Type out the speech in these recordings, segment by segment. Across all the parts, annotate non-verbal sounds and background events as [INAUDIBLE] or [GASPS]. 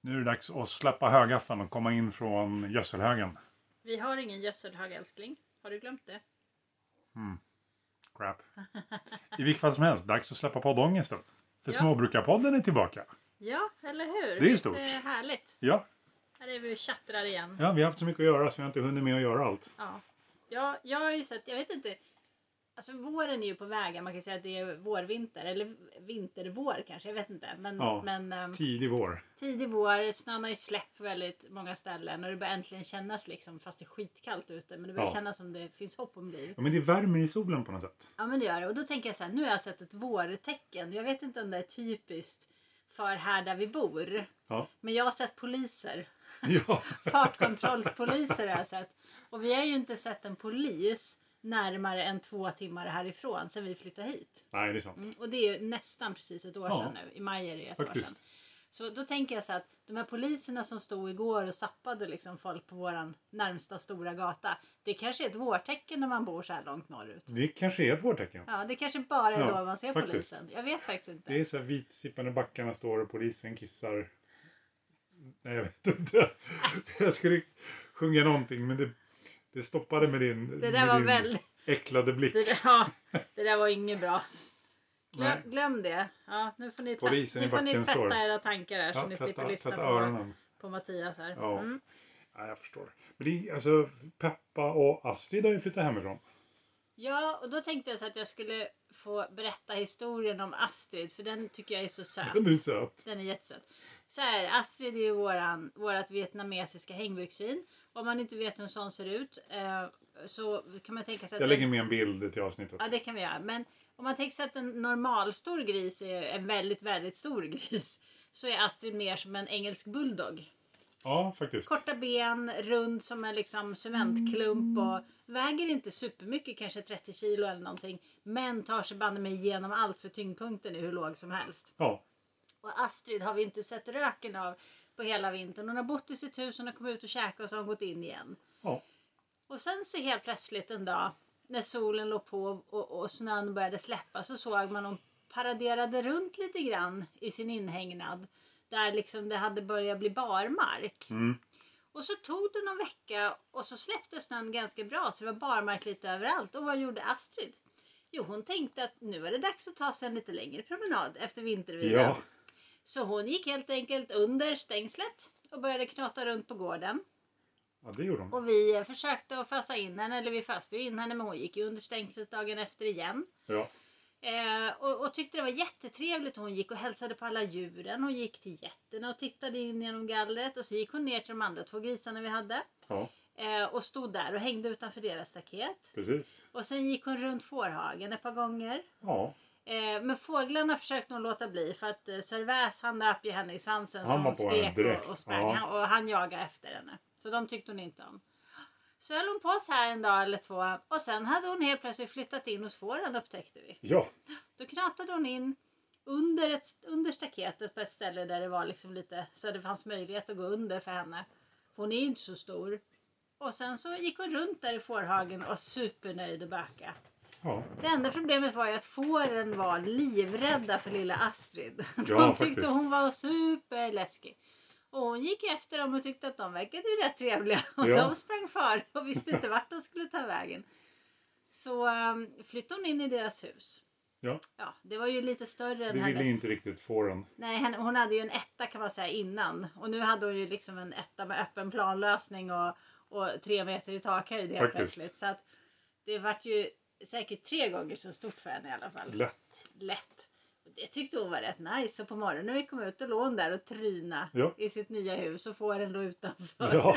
Nu är det dags att släppa högaffeln och komma in från gödselhögen. Vi har ingen gödselhög älskling. Har du glömt det? Crap. I vilket fall som helst, dags att släppa poddångesten. För Ja. Småbrukarpodden är tillbaka. Ja, eller hur? Det är Visst stort. Det är härligt. Ja. Här är vi och tjattrar igen. ja, vi har haft så mycket att göra så vi har inte hunnit med att göra allt. Ja. ja, jag har ju sett, jag vet inte. Alltså våren är ju på vägen. Man kan säga att det är vårvinter. Eller vintervår kanske, jag vet inte. Men, Ja. men ehm, Tidig vår. tidig vår, snön har ju släppt på väldigt många ställen. Och det börjar äntligen kännas liksom, fast det är skitkallt ute. Men det börjar Ja. kännas som det finns hopp om liv. Ja, men det värmer i solen på något sätt. Ja men det gör det. Och då tänker jag så här, nu har jag sett ett vårtecken. Jag vet inte om det är typiskt för här där vi bor. Ja. Men jag har sett poliser. [LAUGHS] ja. Fartkontrollspoliser har jag sett. Och vi har ju inte sett en polis närmare än två timmar härifrån sedan vi flyttade hit. Nej, det är sant. Mm, Och det är ju nästan precis ett år Ja. sedan nu. I maj är det ju ett år Faktiskt. sedan. Så då tänker jag så här att de här poliserna som stod igår och sappade liksom folk på våran närmsta stora gata. Det kanske är ett vårtecken när man bor så här långt norrut. Det kanske är ett vårtecken. Ja, det kanske bara är då Ja, man ser faktiskt. polisen. Jag vet faktiskt inte. Det är så här vitsippande backarna står och polisen kissar. Nej, jag vet inte. [LAUGHS] Jag skulle sjunga någonting men det, det stoppade med din, där med var din väl- äcklade blick. Det, där, ja, det där var inget bra. Nej. Glöm, glöm det. Ja, nu får ni, tvätt, Polisen i nu får ni backen tvätta står. era tankar här så Ja, ni tvätta, slipper lyssna tvätta på, öronen. på Mattias här. Ja. Mm. Ja, jag förstår. Men det, är- alltså, Peppa och Astrid har ju flyttat hemifrån. ja, och då tänkte jag så att jag skulle få berätta historien om Astrid för den tycker jag är så söt. Den är söt. Den är jättesöt. Så här, Astrid är ju våran, vårat vietnamesiska hängbyxvin. Om man inte vet hur en sån ser ut eh, så kan man tänka sig Jag att den- lägger med en bild till avsnittet. Ja, det kan vi göra. Men om man tänker sig att en normalstor gris är en väldigt, väldigt stor gris så är Astrid mer som en engelsk bulldog. Ja, faktiskt. Korta ben, rund som en liksom cementklump och väger inte supermycket, kanske 30 kilo eller någonting. Men tar sig banne mig igenom allt för tyngdpunkten är hur låg som helst. Ja, Och Astrid har vi inte sett röken av på hela vintern. Hon har bott i sitt hus, hon har kommit ut och käkat och så har hon gått in igen. ja. Och sen så helt plötsligt en dag när solen låg på och, och snön började släppa så såg man hon paraderade runt lite grann i sin inhägnad. Där liksom det hade börjat bli barmark. Mm. Och så tog det någon vecka och så släppte snön ganska bra så det var barmark lite överallt. Och vad gjorde Astrid? Jo, hon tänkte att nu var det dags att ta sig en lite längre promenad efter vintervilan. ja. Så hon gick helt enkelt under stängslet och började knata runt på gården. ja det gjorde hon. Och vi eh, försökte att fösa in henne, eller vi föste ju in henne men hon gick ju under stängslet dagen efter igen. Ja. Eh, och, och tyckte det var jättetrevligt. Hon gick och hälsade på alla djuren. Hon gick till getterna och tittade in genom gallret. Och så gick hon ner till de andra två grisarna vi hade. ja, Eh, och stod där och hängde utanför deras staket. precis. Och sen gick hon runt fårhagen ett par gånger. Ja, Eh, men fåglarna försökte hon låta bli för att eh, Sir Väs han nöp ju henne i svansen Han så var hon på henne skrek direkt. och, och sprang Ja. han, och han jagade efter henne. Så de tyckte hon inte om. Så höll hon på så här en dag eller två och sen hade hon helt plötsligt flyttat in hos fåren upptäckte vi. ja. Då knatade hon in under, ett, under staketet på ett ställe där det var liksom lite så det fanns möjlighet att gå under för henne. För hon är ju inte så stor. Och sen så gick hon runt där i fårhagen och var supernöjd och böka. ja. Det enda problemet var ju att fåren var livrädda för lilla Astrid. [LAUGHS] De Ja, tyckte faktiskt. hon var superläskig. Och hon gick efter dem och tyckte att de verkade ju rätt trevliga. [LAUGHS] Och Ja. de sprang före och visste inte vart de skulle ta vägen. Så um, flyttade hon in i deras hus. ja. Ja, det var ju lite större än Det ville hennes. inte riktigt fåren. Nej, henne- hon hade ju en etta kan man säga innan. Och nu hade hon ju liksom en etta med öppen planlösning och, och tre meter i takhöjd helt Faktiskt. plötsligt. Så att det vart ju säkert tre gånger så stort för henne i alla fall Lätt. lätt. Och det tyckte hon var rätt nice. Och på morgonen när vi kom ut då låg hon där och tryna Ja. i sitt nya hus och fåren låg utanför. Ja.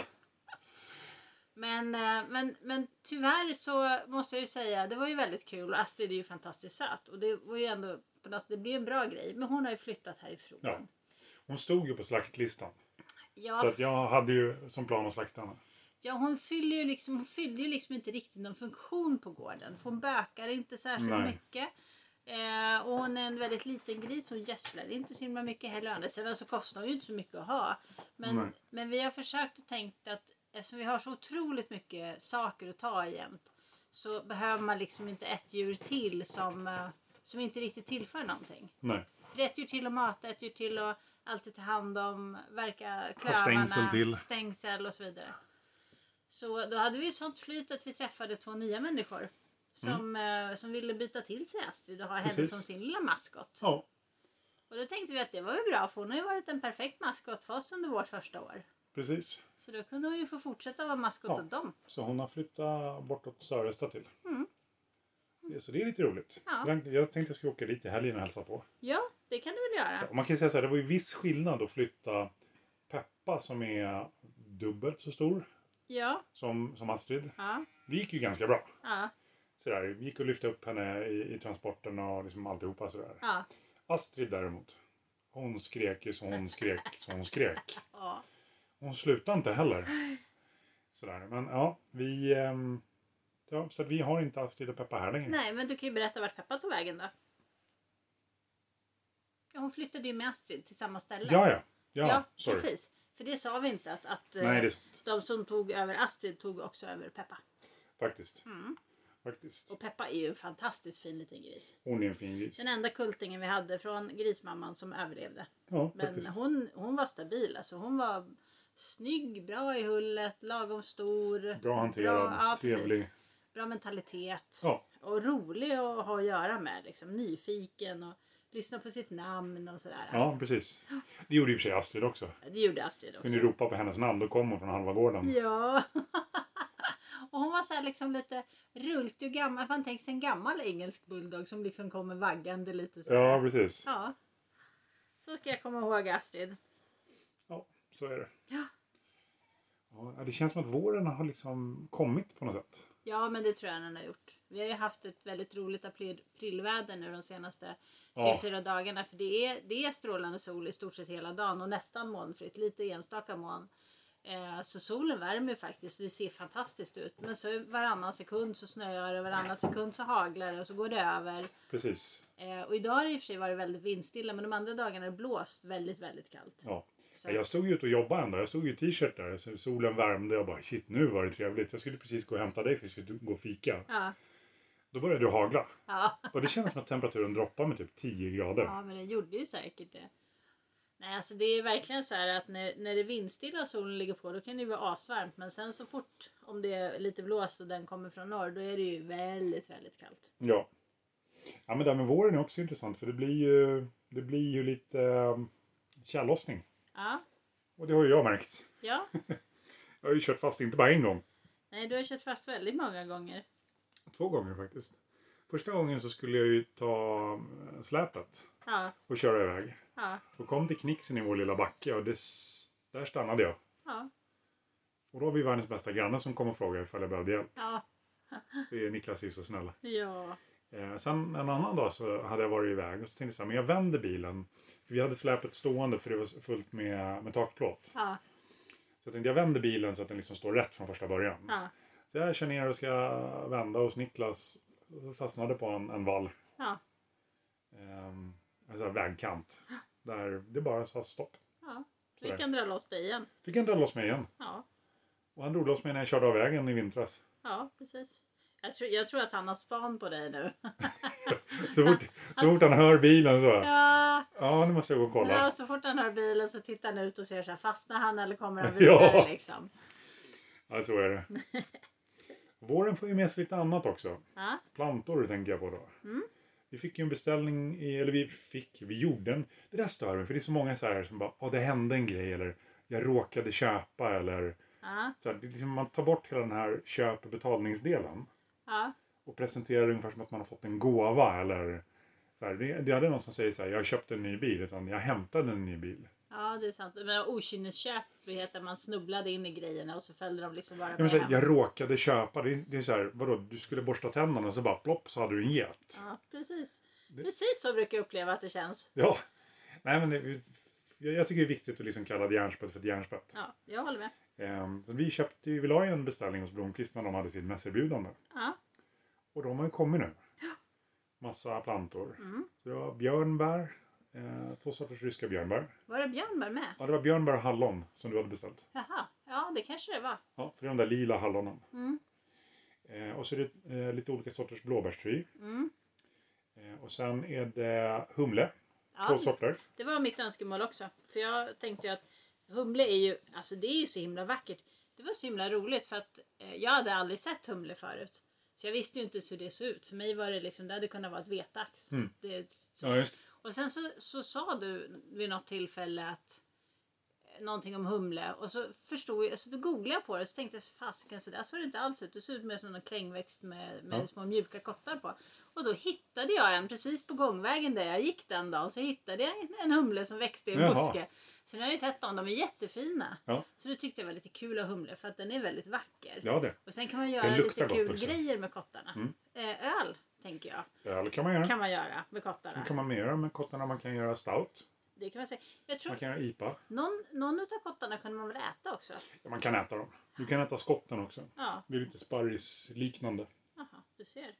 Men, eh, men, men tyvärr så måste jag ju säga, det var ju väldigt kul och Astrid är ju fantastiskt söt. Och det var ju ändå på något, det blev en bra grej. Men hon har ju flyttat härifrån. Ja. Hon stod ju på slaktlistan. Ja, Så att jag hade ju som plan att slakta henne. Ja, hon, fyller ju liksom, hon fyllde ju liksom inte riktigt någon funktion på gården. För hon bökar inte särskilt Nej. mycket. Eh, och hon är en väldigt liten gris. Hon gödslar inte så himla mycket heller. Å andra sidan så kostar hon ju inte så mycket att ha. Nej. Men, men vi har försökt och tänkt att eftersom vi har så otroligt mycket saker att ta i jämt. Så behöver man liksom inte ett djur till som, eh, som inte riktigt tillför någonting. Nej. För ett djur till att mata, ett djur till att alltid ta hand om, verka klövarna, stängsel till. stängsel och så vidare. Så då hade vi sånt flyt att vi träffade två nya människor som, eh, som ville byta till sig Astrid och ha henne Precis. som sin lilla maskot. Ja, Och då tänkte vi att det var ju bra för hon har ju varit en perfekt maskot för oss under vårt första år. precis. Så då kunde hon ju få fortsätta vara maskot Ja. åt dem. Så hon har flyttat bortåt Söresta till. Mm. Ja, Så det är lite roligt. Ja. Jag jag tänkte jag skulle åka dit i helgen och hälsa på. Ja, det kan du väl göra. Och Man kan ju säga så här, det var ju viss skillnad att flytta Peppa som är dubbelt så stor Ja, som, som Astrid. ja, Det gick ju ganska bra. ja, Sådär, det gick att lyfta upp henne i, i transporten och liksom alltihopa sådär. ja. Astrid däremot, hon skrek ju som hon skrek som hon skrek. ja. Hon slutade inte heller. Sådär, men ja, vi... ehm, Ja, så att vi har inte Astrid och Peppa här längre. Nej, men du kan ju berätta vart Peppa tog vägen då. Ja, Hon flyttade ju med Astrid till samma ställe. Ja, ja. Ja, Ja, sorry. precis. För det sa vi inte att, att eh, Nej, det är sant. de som tog över Astrid tog också över Peppa. Faktiskt. Mm. Faktiskt. Och Peppa är ju en fantastiskt fin liten gris. Hon är en fin gris. Den enda kultingen vi hade från grismamman som överlevde. Ja, Men faktiskt. hon, hon var stabil alltså. Hon var snygg, bra i hullet, lagom stor. Bra hanterad, ja, precis. trevlig. Bra mentalitet. Ja, Och rolig att ha att göra med. Liksom. Nyfiken och lyssna på sitt namn och sådär. ja, precis. Det gjorde i och för sig Astrid också. Det gjorde Astrid också. Kunde ju ropa på hennes namn, då kom hon från halva gården. Ja. [LAUGHS] och hon var så här liksom lite rultig och gammal. Man tänker sig en gammal engelsk bulldog som liksom kommer vaggande lite så här. Ja, precis. ja. Så ska jag komma ihåg Astrid. Ja, så är det. Ja. Ja, det känns som att våren har liksom kommit på något sätt. Ja, men det tror jag den har gjort. Vi har ju haft ett väldigt roligt april- aprilväder nu de senaste tre, Ja. fyra dagarna. För det är, det är strålande sol i stort sett hela dagen och nästan molnfritt. Lite enstaka moln. Eh, så solen värmer ju faktiskt och det ser fantastiskt ut. Men så varannan sekund så snöar det, varannan sekund så haglar det och så går det över. Precis. Eh, och idag har det i och för sig varit väldigt vindstilla men de andra dagarna har det blåst väldigt, väldigt kallt. Ja. Så, Ja, Jag stod ju ute och jobbade ändå. Jag stod ju i t-shirt där. Så solen värmde. Jag bara shit nu var det trevligt. Jag skulle precis gå och hämta dig för vi skulle gå och fika. ja, Då började det hagla. ja. Och det kändes som att temperaturen droppade med typ 10 grader. Ja, men den gjorde ju säkert det. Nej, alltså det är verkligen så här att när, när det är vindstilla och solen ligger på då kan det ju vara asvarmt. Men sen så fort om det är lite blåst och den kommer från norr då är det ju väldigt, väldigt kallt. Ja. Ja men det här med våren är också intressant för det blir ju, det blir ju lite eh, tjällossning. Ja, Och det har ju jag märkt. ja. Jag har ju kört fast inte bara en gång. Nej, du har kört fast väldigt många gånger. Två gånger faktiskt. Första gången så skulle jag ju ta eh, släpet Ja, och köra iväg. ja, Då kom det knixen i vår lilla backe och det, s- där stannade jag. ja, Och då har vi världens bästa granne som kom och frågade ifall jag behövde hjälp. ja, Det är Niklas är så snäll. ja, Eh, sen en annan dag så hade jag varit iväg och så tänkte jag så här, men jag vänder bilen. För vi hade släpet stående för det var fullt med, med takplåt. ja, Så jag tänkte jag vänder bilen så att den liksom står rätt från första början. ja, Så jag kör ner och ska vända hos Niklas. Och så fastnade på en, en vall. ja, Ehm, en sån här vägkant. Där det bara sa stopp. ja. Vi kan dra loss dig igen. Fick han dra loss mig igen. Ja, Och han drog loss mig när jag körde av vägen i vintras. ja, precis. Jag tror, jag tror att han har span på dig nu. Så fort, så fort han hör bilen så. Alltså. Ja. Ja, nu måste jag gå och kolla. Ja, så fort han hör bilen så tittar han ut och ser så här, fastnar han eller [LAUGHS] kommer han Ja. vidare liksom. Ja, så [LAUGHS] är det. Våren får ju med sig lite annat också. Ja, Plantor tänker jag på då. Vi fick ju en beställning, i, eller vi fick, vi gjorde en. Det där stör mig, för det är så många så här som bara, ja det hände en grej eller jag råkade köpa eller ja, så här, det är liksom, Man tar bort hela den här köp och betalningsdelen ja, och presenterar det ungefär som att man har fått en gåva eller så här, det, det är aldrig någon som säger så här, jag köpte en ny bil, utan jag hämtade en ny bil. ja, det är sant. Men okynnesköp det heter att man snubblade in i grejerna och så följde de liksom bara Jag, menar, med så här, hem. jag råkade köpa, det är, det är så här, vadå, du skulle borsta tänderna och så bara plopp så hade du en get. Ja, precis. Precis så brukar jag uppleva att det känns. Ja. Nej, men det, jag, jag tycker det är viktigt att liksom kalla ett järnspett för ett järnspett. Ja, jag håller med. Ehm, så vi köpte ju, vi la ju en beställning hos Blomqvist när de hade sitt mässerbjudande. Ja, Och de har ju kommit [GASPS] nu. Massa plantor. Mm. Det var björnbär, eh, två sorters ryska björnbär. var det Björnberg med? Ja, det var björnbär och hallon som du hade beställt. Jaha, ja det kanske det var. Ja, för det är de där lila hallonen. Mm. Eh, och så är det eh, lite olika sorters blåbärstry. Mm. Eh, och sen är det humle. Ja, Ja. Tolv sorter. Det var mitt önskemål också. För jag tänkte ju att humle är ju, alltså det är ju så himla vackert. Det var så himla roligt för att eh, jag hade aldrig sett humle förut. Så jag visste ju inte hur det såg ut. För mig var det liksom, det hade kunnat vara ett vetax. Mm. Det, Ja, just och sen så, så sa du vid något tillfälle att eh, någonting om humle och så förstod jag, så då googlade jag på det och så tänkte jag fasken så där såg det inte alls ut. Det såg ut mer som en klängväxt med, med Ja. små mjuka kottar på. Och då hittade jag en precis på gångvägen där jag gick den dagen så hittade jag en- en humle som växte i en Jaha. buske. Så nu har jag ju sett dem, de är jättefina. Ja. Så det tyckte jag var lite kul av humle för att den är väldigt vacker. Ja, det. Och sen kan man göra luktar lite gott kul också. grejer med kottarna. Mm. Eh, öl tänker jag Öl kan man göra. kan man göra med kottarna. Vad kan man mer göra med kottarna? Man kan göra stout. Det kan man säga. Jag tror Man kan göra IPA. Någon, någon utav kottarna kunde man väl äta också? Ja, man kan äta dem. Du kan äta skotten också. Ja, Det är lite sparrisliknande. aha, du ser.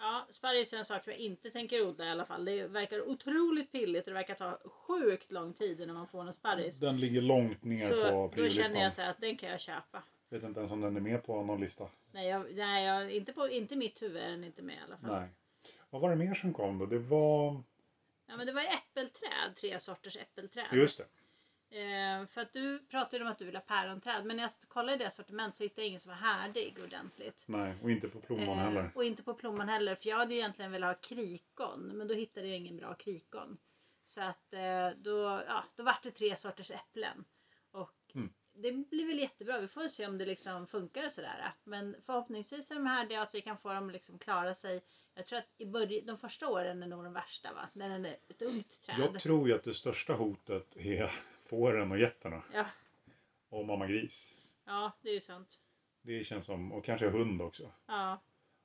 Ja, sparris är en sak som jag inte tänker odla i alla fall. Det verkar otroligt pilligt och det verkar ta sjukt lång tid innan man får någon sparris. Den ligger långt ner Så på då känner priolistan. jag så här att den kan jag köpa. Vet inte ens om den är med på någon lista. Nej, jag, nej jag, inte, på, inte mitt huvud är den inte med i alla fall. Nej. Vad var det mer som kom då? Det var... Ja, men det var ju äppelträd, tre sorters äppelträd. Just det. Eh, för att du pratade ju om att du vill ha päronträd. Men när jag kollade i det sortiment så hittade jag ingen som var härdig ordentligt. Nej, och inte på plommon Eh, heller. Och inte på plommon heller. För jag hade ju egentligen velat ha krikon. Men då hittade jag ingen bra krikon. Så att eh, då, ja, då vart det tre sorters äpplen. Och Mm. det blir väl jättebra. Vi får se om det liksom funkar och sådär. Men förhoppningsvis är de här det att vi kan få dem liksom klara sig. Jag tror att i början, de första åren är nog de värsta va? När den är ett ungt träd. Jag tror ju att det största hotet är [LAUGHS] fåren och getterna. ja, Och mamma gris. ja, det är ju sant. Det känns som... Och kanske hund också. Ja,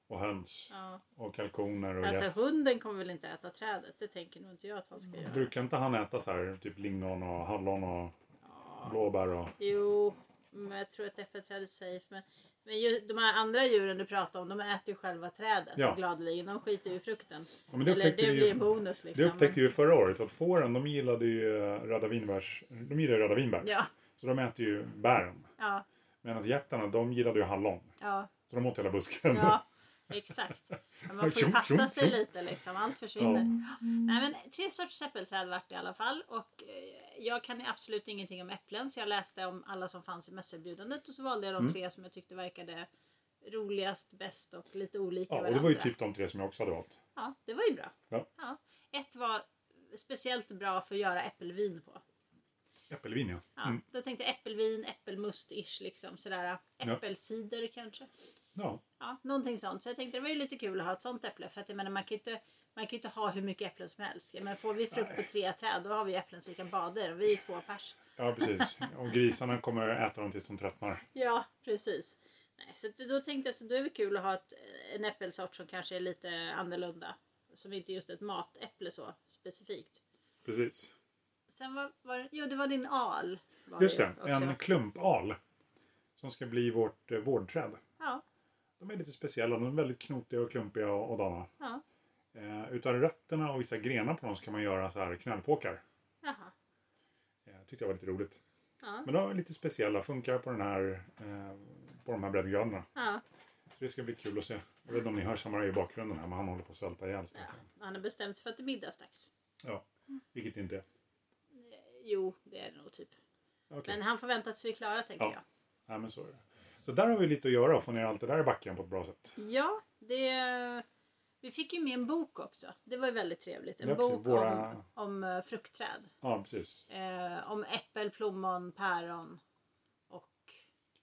Och höns. ja. Och kalkoner och Alltså gäss. hunden kommer väl inte äta trädet. Det tänker nog inte jag att han ska göra. Brukar inte han äta så här, typ lingon och hallon och Ja. blåbär och... Jo, men jag tror att äppelträd är safe. Men, men ju, de här andra djuren du pratar om, de äter ju själva trädet Ja. gladeligen. De skiter ju i frukten. Ja, men det Eller det upptäckte vi ju- blir en bonus liksom. Det upptäckte vi ju förra året att fåren de gillade ju eh, röda vinbärs... De gillar ju röda vinbär. Ja, Så de äter ju bären. ja, Medan getterna de gillade ju hallon. [LAUGHS] ja, Så de åt hela busken. ja. Exakt. Men man får ju Tjong, passa tjong, sig tjong. lite liksom. Allt försvinner. Nej, men tre sorters äppelträd vart det i alla fall. Och eh, jag kan absolut ingenting om äpplen. Så jag läste om alla som fanns i mösserbjudandet. Och så valde jag de Mm. tre som jag tyckte verkade roligast, bäst och lite [LAUGHS] olika ja, och varandra. det var ju typ de tre som jag också hade valt. Ja, det var ju bra. Ja. Ett var speciellt bra för att göra äppelvin på. Äppelvin ja. Ja, Mm. Då tänkte jag äppelvin, äppelmust-ish liksom sådär. Ja. Äppelcider kanske. ja. Ja, någonting sånt. Så jag tänkte det var ju lite kul att ha ett sånt äpple. För att jag menar man kan ju inte, man kan ju inte ha hur mycket äpplen som helst. Men får vi frukt på tre träd då har vi äpplen så vi kan bada i dem. Vi är ju två pers. Ja, precis. Och grisarna kommer äta dem tills de tröttnar. Ja, precis. Nej, så att då tänkte jag så då är det kul att ha ett, en äppelsort som kanske är lite annorlunda. Som inte är just ett matäpple så specifikt. Precis. Sen var, var jo, det var din al. Var Just det, ju en också. klumpal. Som ska bli vårt eh, vårdträd. Ja, De är lite speciella. De är väldigt knotiga och klumpiga och, och dana. ja, Eh, utan rötterna och vissa grenar på dem så kan man göra så här knallpåkar. jaha. Eh, tyckte jag var lite roligt. Ja, Men de är lite speciella, funkar på, den här, eh, på de här breddgraderna. ja. Så det ska bli kul att se. Jag vet inte om ni hör Samurai i bakgrunden här, men han håller på att svälta ihjäl. ja. Ja. Han har bestämt sig för att det är middagsdags. ja, vilket det inte är. Eh, Jo, det är det nog typ. Okej, Men han får vänta tills vi är klara tänker Ja. jag. Nej, men så är det. Så där har vi lite att göra och få ner allt det där i backen på ett bra sätt. Ja, det... Vi fick ju med en bok också. Det var ju väldigt trevligt. En Ja, precis. bok Våra- om, om eh, fruktträd. Ja, precis. Eh, om äppel, plommon, päron och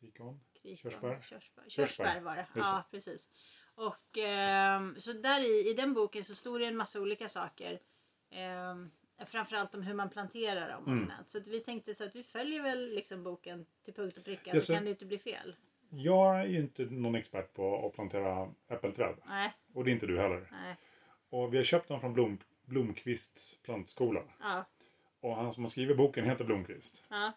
Ikon. Krikon, Körsbär. Körsbär. Körsbär Körsbär var det. Just Ja, precis. Och ehm, så där i, i den boken så stod det en massa olika saker. Ehm, framförallt om hur man planterar dem och Mm. sånt. Så att vi tänkte så att vi följer väl liksom boken till punkt och pricka. Yes, så sir. kan det ju inte bli fel. Jag är ju inte någon expert på att plantera äppelträd. Nej, Och det är inte du heller. nej. Och vi har köpt dem från Blom, Blomqvists plantskola. Ja, Och han som har skrivit boken heter Blomqvist. ja,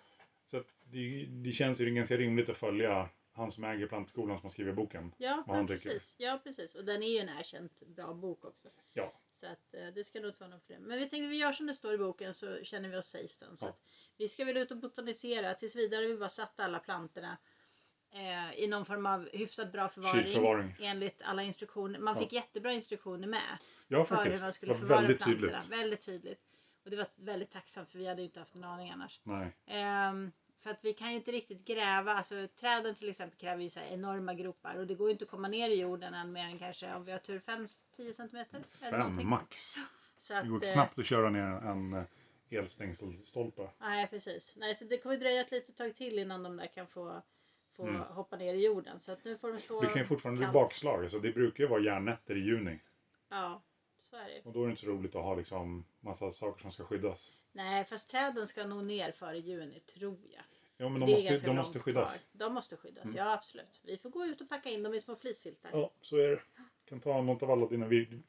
Så att det, det känns ju ganska rimligt att följa han som äger plantskolan som har skrivit boken. ja, Vad ja, han tycker. precis. ja, precis. Och den är ju en erkänt bra bok också. Ja, Så att, eh, det ska nog inte vara något problem. Men vi tänkte vi gör som det står i boken så känner vi oss safe sen. Så Ja. att vi ska väl ut och botanisera. Tills vidare har vi bara satt alla plantorna eh, i någon form av hyfsat bra förvaring. Kylförvaring. Enligt alla instruktioner. Man Ja. fick jättebra instruktioner med. ja För hur faktiskt. man Det skulle var förvara väldigt plantorna. tydligt. Väldigt tydligt. Och det var väldigt tacksamt för vi hade ju inte haft en aning annars. Nej. Ehm, för att vi kan ju inte riktigt gräva, alltså träden till exempel kräver ju så här enorma gropar och det går ju inte att komma ner i jorden än mer än kanske om vi har tur 5-10 centimeter. eller Fem någonting. max. Så att, Det går eh, knappt att köra ner en eh, elstängselstolpe. Nej precis. Nej, så det kommer dröja ett litet tag till innan de där kan få, få Mm. hoppa ner i jorden. Så att nu får de stå... Det kan ju fortfarande bli kallt. bakslag. Så det brukar ju vara järnnätter i juni. Ja, så är det ju. Och då är det inte så roligt att ha liksom massa saker som ska skyddas. Nej, fast träden ska nog ner före juni tror jag. Ja, men de Det är måste, ganska de långt måste skyddas. Mm. kvar. De måste skyddas, ja absolut. Vi får gå ut och packa in dem i små fleecefiltar. Ja, så är det. Du kan ta något av alla dina vir-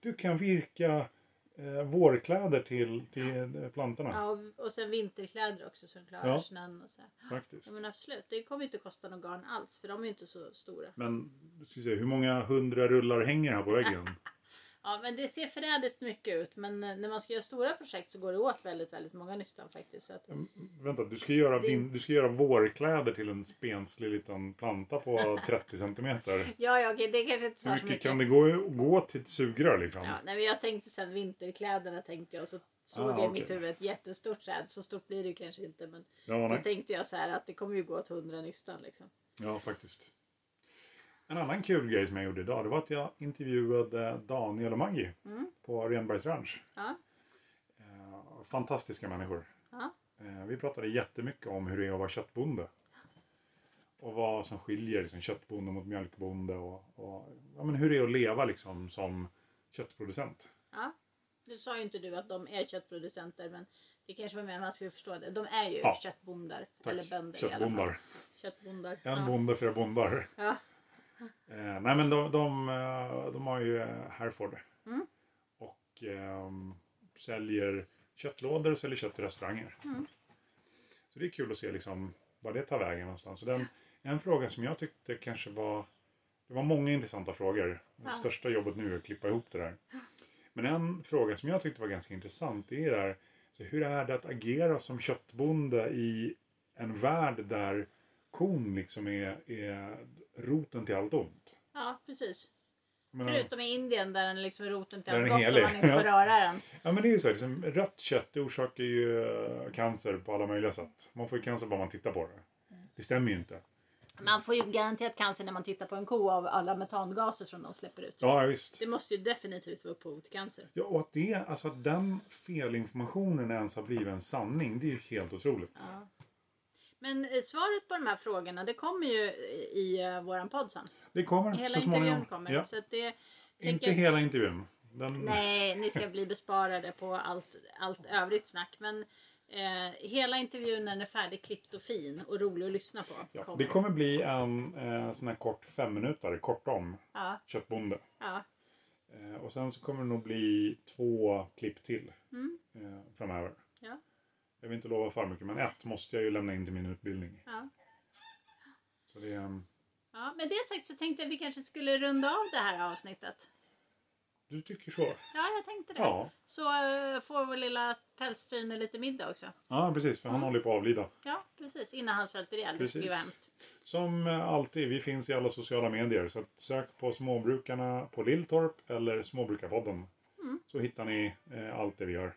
Du kan virka eh, vårkläder till, till eh, plantorna. Ja, och- och sen vinterkläder också så de klarar Ja. snön och så. här. Faktiskt. Ja men absolut, det kommer ju inte kosta någon garn alls för de är ju inte så stora. Men ska vi se, hur många hundra rullar hänger här på [LAUGHS] väggen? Ja men det ser förrädiskt mycket ut men eh, när man ska göra stora projekt så går det åt väldigt väldigt många nystan faktiskt. Så att, Mm, Vänta, du ska, göra Det- vin, du ska göra vårkläder till en spenslig liten planta [LAUGHS] på 30 centimeter. ja ja okej det kanske inte Hur tar så mycket mycket. kan det gå, gå till ett sugrör liksom? Ja, nej, men jag tänkte sen vinterkläderna tänkte jag och så Ah, såg jag i okej. mitt huvud ett jättestort träd. Så stort blir det ju kanske inte men Ja, då Ah, nej. tänkte jag så här att det kommer ju gå åt hundra nystan liksom. ja, faktiskt. En annan kul grej som jag gjorde idag det var att jag intervjuade Daniel och Maggie Mm. på Renbergs Ranch. Ja, Eh, Fantastiska människor. Ja. Eh, Vi pratade jättemycket om hur det är att vara köttbonde. Och vad som skiljer liksom, köttbonde mot mjölkbonde. Och, och ja, men hur det är att leva liksom, som köttproducent. ja. Nu sa ju inte du att de är köttproducenter men det kanske var meningen att man skulle förstå det. De är ju Ja. köttbondar. Tack. Eller bönder i alla fall. Köttbondar. Köttbondar. En ja. bonde, flera bondar. Ja. Eh, nej men de, de, eh, de har ju eh, Hereford. Mm. Och ehm, säljer köttlådor och säljer kött i restauranger. Mm. Så det är kul att se liksom vad det tar vägen någonstans. Så den, en fråga som jag tyckte kanske var... Det var många intressanta frågor. Det Ja. största jobbet nu är att klippa ihop det där. Men en fråga som jag tyckte var ganska intressant det är det här, så hur är det att agera som köttbonde i en värld där kon liksom är, är roten till allt ont? ja precis. Men, Förutom i Indien där den liksom är roten till Där allt den gott är och helig. man inte får röra den. ja, men det är ju så här, liksom, rött kött det orsakar ju eh, cancer på alla möjliga sätt. Man får ju cancer bara man tittar på det. Det stämmer ju inte. Man får ju garanterat cancer när man tittar på en ko av alla metangaser som de släpper ut. Ja, visst. Det måste ju definitivt vara upphov till cancer. Ja, och att, det, alltså att den felinformationen ens har blivit en sanning, det är ju helt otroligt. Ja. Men eh, svaret på de här frågorna det kommer ju i, i eh, våran podd sen. Det kommer Hela så småningom. intervjun kommer. Ja. Så att det, Inte tänker- hela intervjun. Den, Nej, ni ska bli besparade på allt, allt övrigt snack. Men eh, hela intervjun när den är färdigklippt och fin och rolig att lyssna på. ja, kommer. det kommer bli en eh, sån här kort femminutare, kort om Ja, köttbonde. ja. Eh, och sen så kommer det nog bli två klipp till Mm. eh, framöver. Ja. Jag vill inte lova för mycket, men ett måste jag ju lämna in till min utbildning. Ja. Så det, eh, ja. Med det sagt så tänkte jag att vi kanske skulle runda av det här avsnittet. du tycker så? Ja, jag tänkte det. Ja, Så eh, får vår lilla pälstryne lite middag också. ja precis. För han håller ju på att avlida. Ja, precis. Innan han svälter ihjäl. Det skulle ju vara Precis. hemskt. Som alltid, vi finns i alla sociala medier. Så att sök på Småbrukarna på Lilltorp eller Småbrukarpodden. Mm. Så hittar ni eh, allt det vi gör.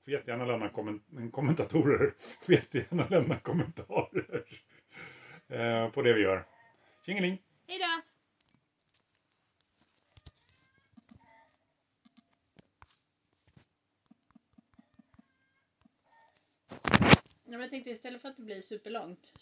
Får jättegärna lämna komment- kommentatorer. Får jättegärna lämna kommentarer [LAUGHS] eh, på det vi gör. Tjingeling! Hej då! Ja, men jag tänkte istället för att det blir superlångt